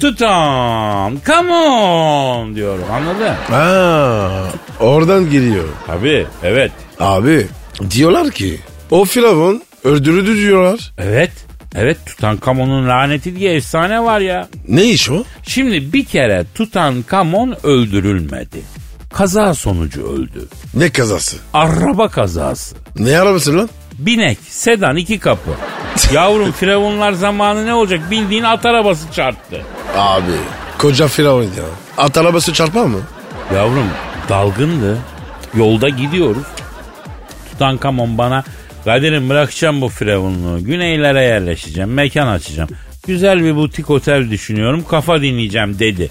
tutan come on diyorum anladın?
Ha, oradan giriyor.
Tabii evet
Abi diyorlar ki o firavun öldürüldü diyorlar.
evet evet Tutankamon'un laneti diye efsane var ya.
Ne iş o?
Şimdi bir kere Tutankamon öldürülmedi. Kaza sonucu öldü.
Ne kazası?
Araba kazası.
Ne arabası lan?
Binek, sedan iki kapı. Yavrum firavunlar zamanı ne olacak bildiğin at arabası çarptı.
Abi koca firavun ya. At arabası çarpar mı?
Yavrum dalgındı. Yolda gidiyoruz. Tutankamon bana Kadir'im bırakacağım bu firavunluğu. Güneylere yerleşeceğim. Mekan açacağım. Güzel bir butik otel düşünüyorum. Kafa dinleyeceğim dedi.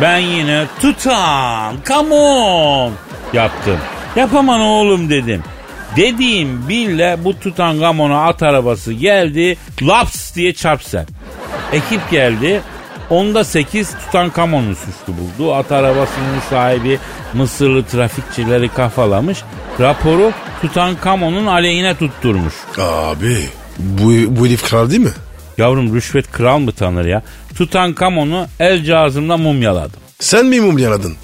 Ben yine tutan come on yaptım. Yapaman oğlum dedim. Dediğim bile bu Tutankamon'a at arabası geldi. Laps diye çarpsa. Ekip geldi. Onda 8 Tutankamon'u suçlu buldu. At arabasının sahibi Mısırlı trafikçileri kafalamış. Raporu Tutankamon'un aleyhine tutturmuş.
Abi bu, bu herif kral değil mi?
Yavrum rüşvet kral mı tanır ya? Tutankamon'u el cazımla mumyaladım.
Sen mi mum yaladın?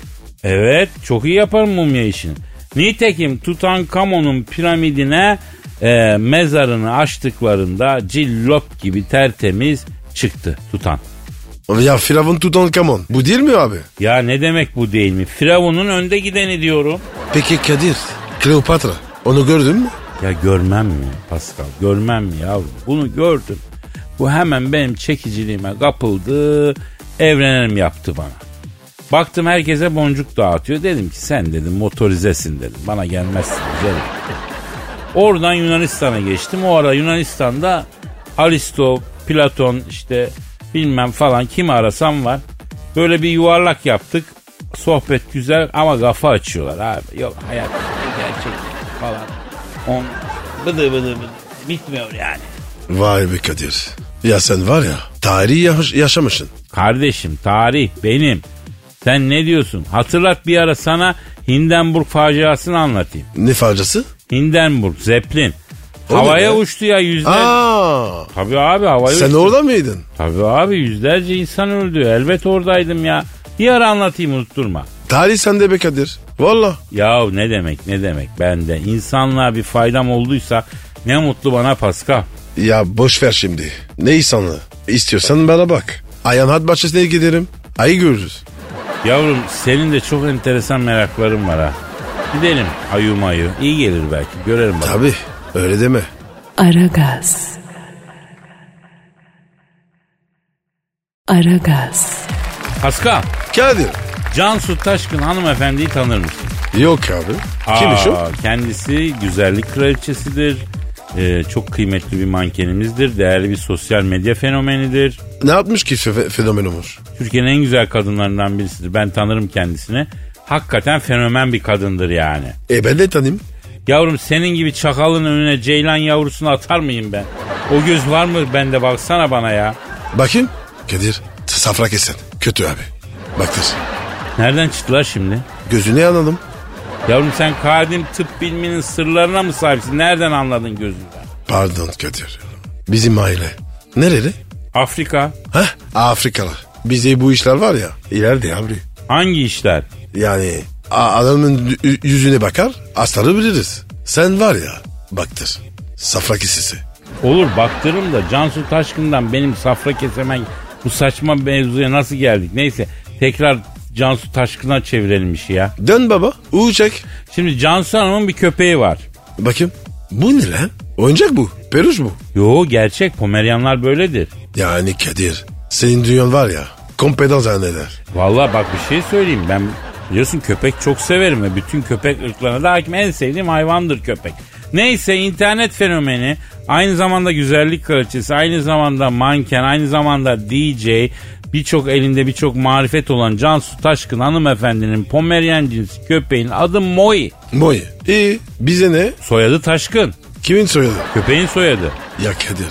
Evet çok iyi yaparım mumya işini. Nitekim Tutankamon'un piramidine e, mezarını açtıklarında cillop gibi tertemiz çıktı Tutan.
Ya firavun Tutankamon. Bu değil mi abi?
Ya ne demek bu değil mi? Firavun'un önde gideni diyorum.
Peki Kadir, Kleopatra onu gördün mü?
Ya görmem mi Pascal? Görmem mi yavrum? Bunu gördüm. Bu hemen benim çekiciliğime kapıldı. Evlenelim yaptı bana. Baktım herkese boncuk dağıtıyor. Dedim ki sen dedim motorizesin dedim. Bana gelmezsin güzelim. Oradan Yunanistan'a geçtim. O ara Yunanistan'da Aristo, Platon işte bilmem falan kimi arasam var. Böyle bir yuvarlak yaptık. Sohbet güzel ama kafa açıyorlar abi. Yok hayat gerçek falan. On bıdı bıdı bıdı bitmiyor yani.
Vay be Kadir. Ya sen var ya, tarihi yaş- yaşamışsın.
Kardeşim tarih benim. Sen ne diyorsun? Hatırlat bir ara sana Hindenburg faciasını anlatayım.
Ne faciası?
Hindenburg, Zeppelin.
O ne
havaya
be?
uçtu ya yüzlerce.
Aa,
Tabii abi havaya
sen
uçtu.
orada mıydın?
Tabii abi yüzlerce insan öldü. Elbet oradaydım ya. Bir ara anlatayım unutturma.
Tarih sende be Kadir. Valla.
Ya ne demek ne demek ben de insanlığa bir faydam olduysa ne mutlu bana Pascal.
Ya boş ver şimdi. Ne insanlığı? İstiyorsan bana bak. Hayvanat bahçesine giderim. Ayı görürüz.
Yavrum senin de çok enteresan merakların var ha. Gidelim ayu mayu. İyi gelir belki. Görelim bakalım.
Tabii. Öyle deme.
Aragaz. Aragaz.
Pascal,
Kadir.
Cansu Taşkın hanımefendiyi tanır mısın?
Yok abi.
Aa,
Kimmiş o?
Kendisi güzellik kraliçesidir. Ee, çok kıymetli bir mankenimizdir. Değerli bir sosyal medya fenomenidir.
Ne yapmış ki fe- fenomen olmuş?
Türkiye'nin en güzel kadınlarından birisidir. Ben tanırım kendisini. Hakikaten fenomen bir kadındır yani.
E ben de tanıyayım.
Yavrum senin gibi çakalın önüne ceylan yavrusunu atar mıyım ben? O göz var mı bende baksana bana ya.
Bakayım. Kadir. Safra kesen. Kötü abi. Baktır.
Nereden çıktılar şimdi?
Gözünü yanalım.
Yavrum sen kadim tıp biliminin sırlarına mı sahipsin? Nereden anladın gözünden?
Pardon Kadir. Bizim aile. Nereli?
Afrika.
Heh, Afrikalı. Bize bu işler var ya. ileride abi.
Hangi işler?
Yani a- adamın y- yüzüne bakar, asları biliriz. Sen var ya, baktır. Safra kesesi.
Olur baktırım da Cansu Taşkın'dan benim safra kesemen bu saçma mevzuya nasıl geldik? Neyse tekrar Cansu Taşkın'a çevirelim işi ya.
Dön baba, uçak.
Şimdi Cansu Hanım'ın bir köpeği var.
Bakayım. Bu ne lan? Oyuncak bu. Peruş bu.
Yo gerçek Pomeryanlar böyledir.
Yani Kadir, senin dünyan var ya, kompedan zanneder.
Vallahi bak bir şey söyleyeyim ben biliyorsun köpek çok severim ve bütün köpek ırklarına da hakim en sevdiğim hayvandır köpek. Neyse internet fenomeni aynı zamanda güzellik kraliçesi aynı zamanda manken aynı zamanda DJ birçok elinde birçok marifet olan Cansu Taşkın hanımefendinin Pomeryan cinsi köpeğin adı Moi.
Moy. E bize ne?
Soyadı Taşkın.
Kimin soyadı?
Köpeğin soyadı.
Ya Kadir,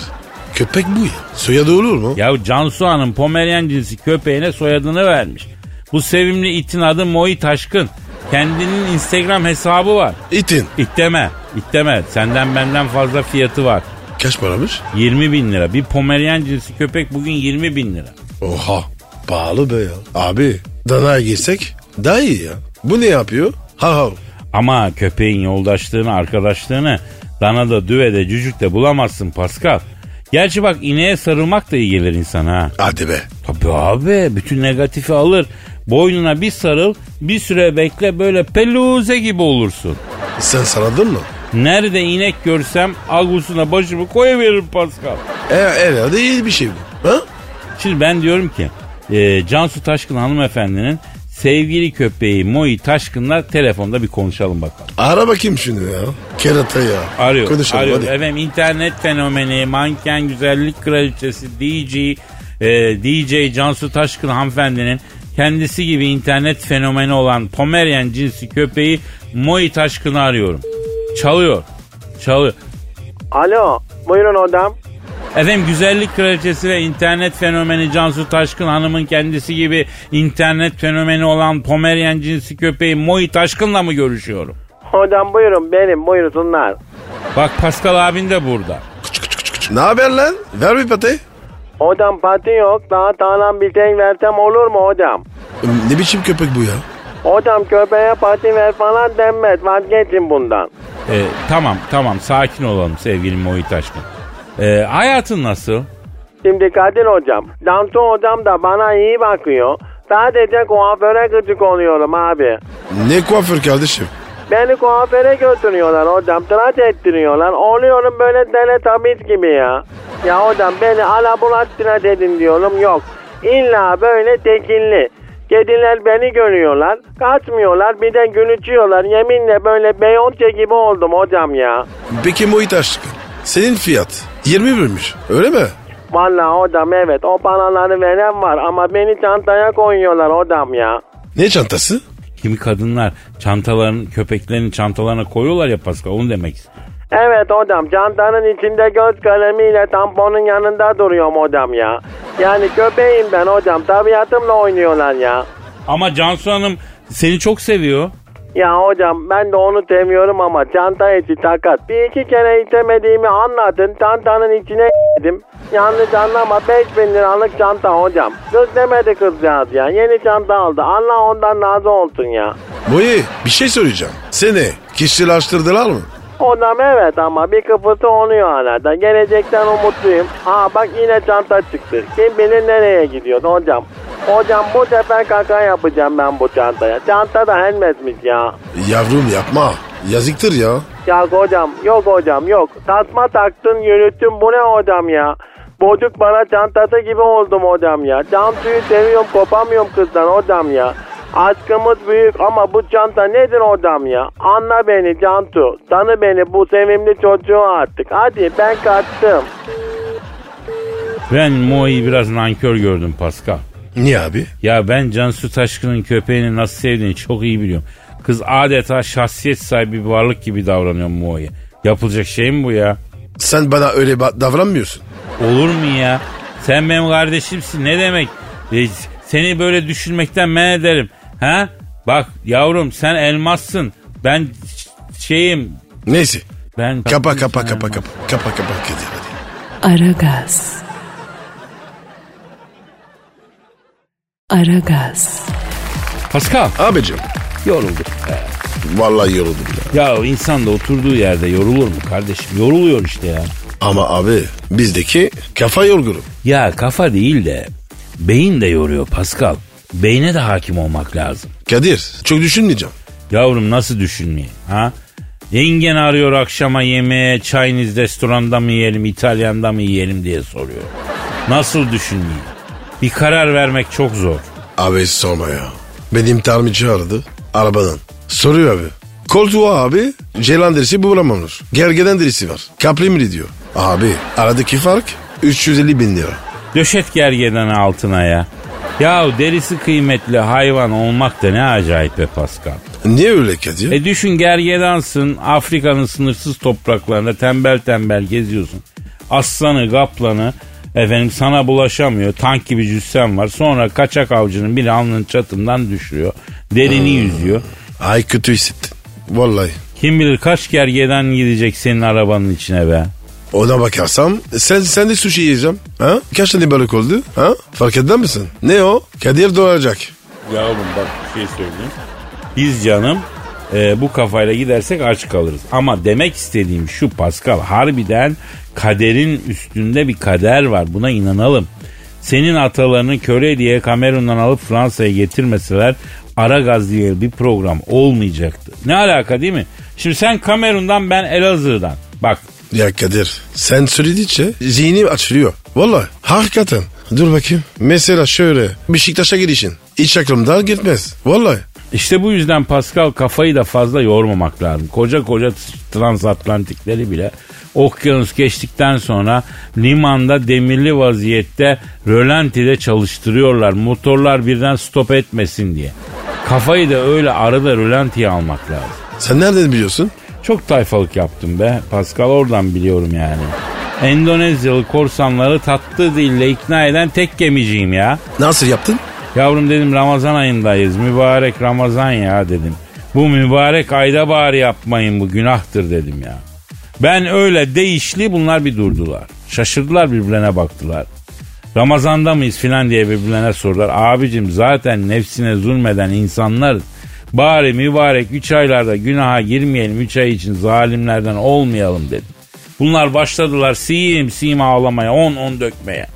köpek bu ya. Soyadı olur mu?
Ya Cansu Hanım Pomeryan cinsi köpeğine soyadını vermiş. Bu sevimli itin adı Moi Taşkın. Kendinin Instagram hesabı var.
İtin.
İt deme, it deme. Senden benden fazla fiyatı var.
Kaç paramış?
20 bin lira. Bir Pomeryan cinsi köpek bugün 20 bin lira.
Oha. Pahalı be ya. Abi, danaya girsek daha iyi ya. Bu ne yapıyor? Ha ha.
Ama köpeğin yoldaşlığını, arkadaşlığını danada, düvede, cücükte bulamazsın Pascal. Gerçi bak ineğe sarılmak da iyi gelir insana ha.
Hadi be.
Tabii abi bütün negatifi alır. Boynuna bir sarıl, bir süre bekle böyle peluze gibi olursun.
Sen sarıldın mı?
Nerede inek görsem agusuna başımı koyuveririm Pascal.
E, herhalde iyi bir şey bu. Ha?
Şimdi ben diyorum ki e, Cansu Taşkın hanımefendinin sevgili köpeği Moi Taşkın'la telefonda bir konuşalım bakalım.
Ara bakayım şimdi ya. Kerata ya.
Arıyor.
Konuşalım
arıyor.
hadi.
Efendim internet fenomeni, manken güzellik kraliçesi, DJ, e, DJ Cansu Taşkın hanımefendinin kendisi gibi internet fenomeni olan Pomeryan cinsi köpeği Moi Taşkın'ı arıyorum. Çalıyor. Çalıyor.
Alo, buyurun odam.
Efendim güzellik kraliçesi ve internet fenomeni Cansu Taşkın Hanım'ın kendisi gibi internet fenomeni olan Pomeryan cinsi köpeği Moi Taşkın'la mı görüşüyorum?
Odam buyurun benim, buyursunlar.
Bak Pascal abin de burada.
Ne haber lan? Ver bir patayı.
Odam pati yok, daha talan bir tek versem olur mu odam?
Oğlum, Ne biçim köpek bu ya?
Odam köpeğe pati ver falan denmez, vazgeçin bundan.
Ee, tamam tamam sakin olalım sevgili Moi Taşkın. Ee, hayatın nasıl?
Şimdi Kadir hocam, Damsu hocam da bana iyi bakıyor. Sadece kuaföre gıcık oluyorum abi.
Ne kuaför kardeşim?
Beni kuaföre götürüyorlar hocam, tıraş ettiriyorlar. Oluyorum böyle teletabiz gibi ya. Ya hocam beni alabulat tıraş edin diyorum, yok. İlla böyle tekinli. Kediler beni görüyorlar, kaçmıyorlar, bir de gülücüyorlar. Yeminle böyle Beyoncé gibi oldum hocam ya.
Peki Muhit Aşkın. Senin fiyat 20 birmiş. Öyle mi?
Vallahi hocam evet, o paraları veren var ama beni çantaya koyuyorlar hocam ya.
Ne çantası?
Kimi kadınlar çantaların köpeklerin çantalarına koyuyorlar ya Pascal onu demek istedim.
Evet hocam çantanın içinde göz kalemiyle tamponun yanında duruyorum hocam ya. Yani köpeğim ben hocam tabiatımla oynuyorlar ya.
Ama Cansu Hanım seni çok seviyor.
Ya hocam ben de onu temiyorum ama çanta içi takat. Bir iki kere itemediğimi anladın. Çantanın içine dedim. Yanlış anlama 5000 liralık çanta hocam. Kız demedi kızcağız ya. Yeni çanta aldı. Allah ondan razı olsun ya.
Boyu bir şey söyleyeceğim. Seni kişilaştırdılar mı?
Odam evet ama bir kıpırtı oluyor hala da. Gelecekten umutluyum. Aa bak yine çanta çıktı. Kim bilir nereye gidiyor hocam. Hocam bu sefer kaka yapacağım ben bu çantaya. Çanta da helmetmiş ya.
Yavrum yapma. Yazıktır ya.
Ya hocam yok hocam yok. Tasma taktın yürüttün bu ne hocam ya. Bocuk bana çantası gibi oldum hocam ya. Çantayı seviyorum kopamıyorum kızdan hocam ya. Aşkımız büyük ama bu çanta nedir hocam ya? Anla beni Cantu. Tanı beni bu sevimli çocuğu artık. Hadi ben kaçtım.
Ben Mo'yu biraz nankör gördüm Pascal.
Niye abi?
Ya ben Cansu Taşkın'ın köpeğini nasıl sevdiğini çok iyi biliyorum. Kız adeta şahsiyet sahibi bir varlık gibi davranıyor Mo'ya. Yapılacak şey mi bu ya?
Sen bana öyle ba- davranmıyorsun.
Olur mu ya? Sen benim kardeşimsin ne demek? E, seni böyle düşünmekten men ederim. Ha? Bak yavrum sen elmassın. Ben ş- şeyim.
Neyse.
Ben
Kapa kapa kapa kapa. Kapa kapa kedi hadi.
Aragaz. Aragaz.
Pascal
Abicim.
yoruldum.
Vallahi yoruldum ya.
Ya insan da oturduğu yerde yorulur mu kardeşim? Yoruluyor işte ya.
Ama abi bizdeki kafa yorgunu.
Ya kafa değil de beyin de yoruyor Pascal. Beyne de hakim olmak lazım.
Kadir çok düşünmeyeceğim.
Yavrum nasıl düşünmeyin ha? Yengen arıyor akşama yemeğe Chinese restoranda mı yiyelim İtalyan'da mı yiyelim diye soruyor. Nasıl düşünmeyin? Bir karar vermek çok zor.
Abi sorma ya. Benim tamirci aradı arabadan. Soruyor abi. Koltuğa abi ceylan derisi bulamamış. Gergeden derisi var. Kaprimli diyor. Abi aradaki fark 350 bin lira.
Döşet gergeden altına ya. Ya derisi kıymetli hayvan olmak da ne acayip be Pascal.
Niye öyle Kadir?
E düşün gergedansın Afrika'nın sınırsız topraklarında tembel tembel geziyorsun. Aslanı kaplanı efendim sana bulaşamıyor. Tank gibi cüssen var. Sonra kaçak avcının biri alnının çatından düşürüyor. Derini yüzüyor.
Ay kötü hissettim. Vallahi.
Kim bilir kaç gergedan gidecek senin arabanın içine be.
Ona bakarsam sen sen de sushi yiyeceğim. Ha? Kaç tane balık oldu? Ha? Fark eder misin? Ne o? Kadir doğacak.
Yavrum bak bir şey söyleyeyim. Biz canım e, bu kafayla gidersek aç kalırız. Ama demek istediğim şu Pascal harbiden kaderin üstünde bir kader var buna inanalım. Senin atalarını köre diye Kamerun'dan alıp Fransa'ya getirmeseler ara gaz diye bir program olmayacaktı. Ne alaka değil mi? Şimdi sen Kamerun'dan ben Elazığ'dan. Bak
Ya Kadir sen söyledikçe zihnim açılıyor. Vallahi hakikaten. Dur bakayım. Mesela şöyle Beşiktaş'a girişin. Hiç aklımda gitmez. Vallahi.
İşte bu yüzden Pascal kafayı da fazla yormamak lazım. Koca koca transatlantikleri bile okyanus geçtikten sonra limanda demirli vaziyette rölantide çalıştırıyorlar. Motorlar birden stop etmesin diye. Kafayı da öyle arada rölantiye almak lazım.
Sen nereden biliyorsun?
Çok tayfalık yaptım be Pascal oradan biliyorum yani. Endonezyalı korsanları tatlı dille ikna eden tek gemiciyim ya.
Nasıl yaptın?
Yavrum dedim Ramazan ayındayız. Mübarek Ramazan ya dedim. Bu mübarek ayda bari yapmayın bu günahtır dedim ya. Ben öyle değişli bunlar bir durdular. Şaşırdılar birbirlerine baktılar. Ramazanda mıyız filan diye birbirlerine sordular. Abicim zaten nefsine zulmeden insanlar bari mübarek 3 aylarda günaha girmeyelim 3 ay için zalimlerden olmayalım dedim. Bunlar başladılar siyim siyim ağlamaya on on dökmeye.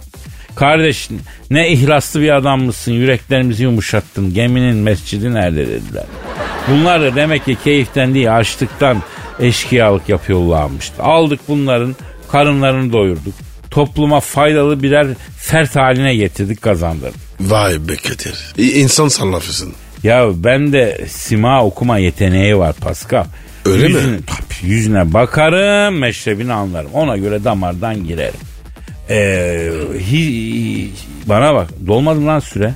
Kardeş ne ihlaslı bir adam mısın yüreklerimizi yumuşattın geminin mescidi nerede dediler. Bunlar da demek ki keyiften değil açlıktan eşkıyalık yapıyorlarmıştı. Aldık bunların karınlarını doyurduk. Topluma faydalı birer fert haline getirdik kazandırdık.
Vay be Kadir. İ- İnsan sarrafısın.
Ya ben de sima okuma yeteneği var Pascal.
Öyle mi?
yüzüne, Tabii, yüzüne bakarım, meşrebini anlarım. Ona göre damardan girerim. Ee, hi- bana bak, dolmadı mı lan süre?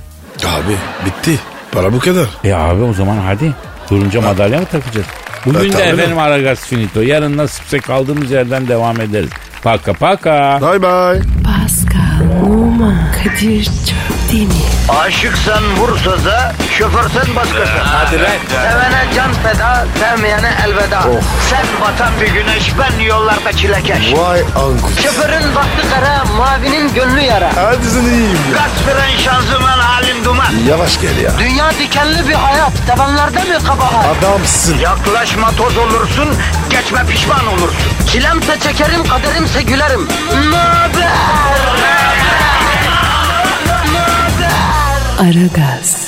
Abi bitti. Para bu kadar.
E abi o zaman hadi. Durunca madalya mı takacağız? Bugün
Ha,
de
tabii.
efendim Aragaz Finito. Yarın nasipse kaldığımız yerden devam ederiz. Paka paka.
Bye bye.
Pascal, Numan, Kadir çok değil mi?
Aşıksan vursa da şoförsen başkasın. Hadi
lan.
Sevene can feda, sevmeyene elveda. Sen batan bir güneş, ben yollarda çilekeş.
Vay anku.
Şoförün baktı kara, mavinin gönlü yara.
Hadi sen iyiyim ya.
Kasperen şanzıman halin duman.
Yavaş gel ya.
Dünya dikenli bir hayat, sevenlerde mi kabahar?
Adamsın.
Yaklaşma toz olursun, geçme pişman olursun. Çilemse çekerim, kaderimse gülerim. Möber!
Aragaz.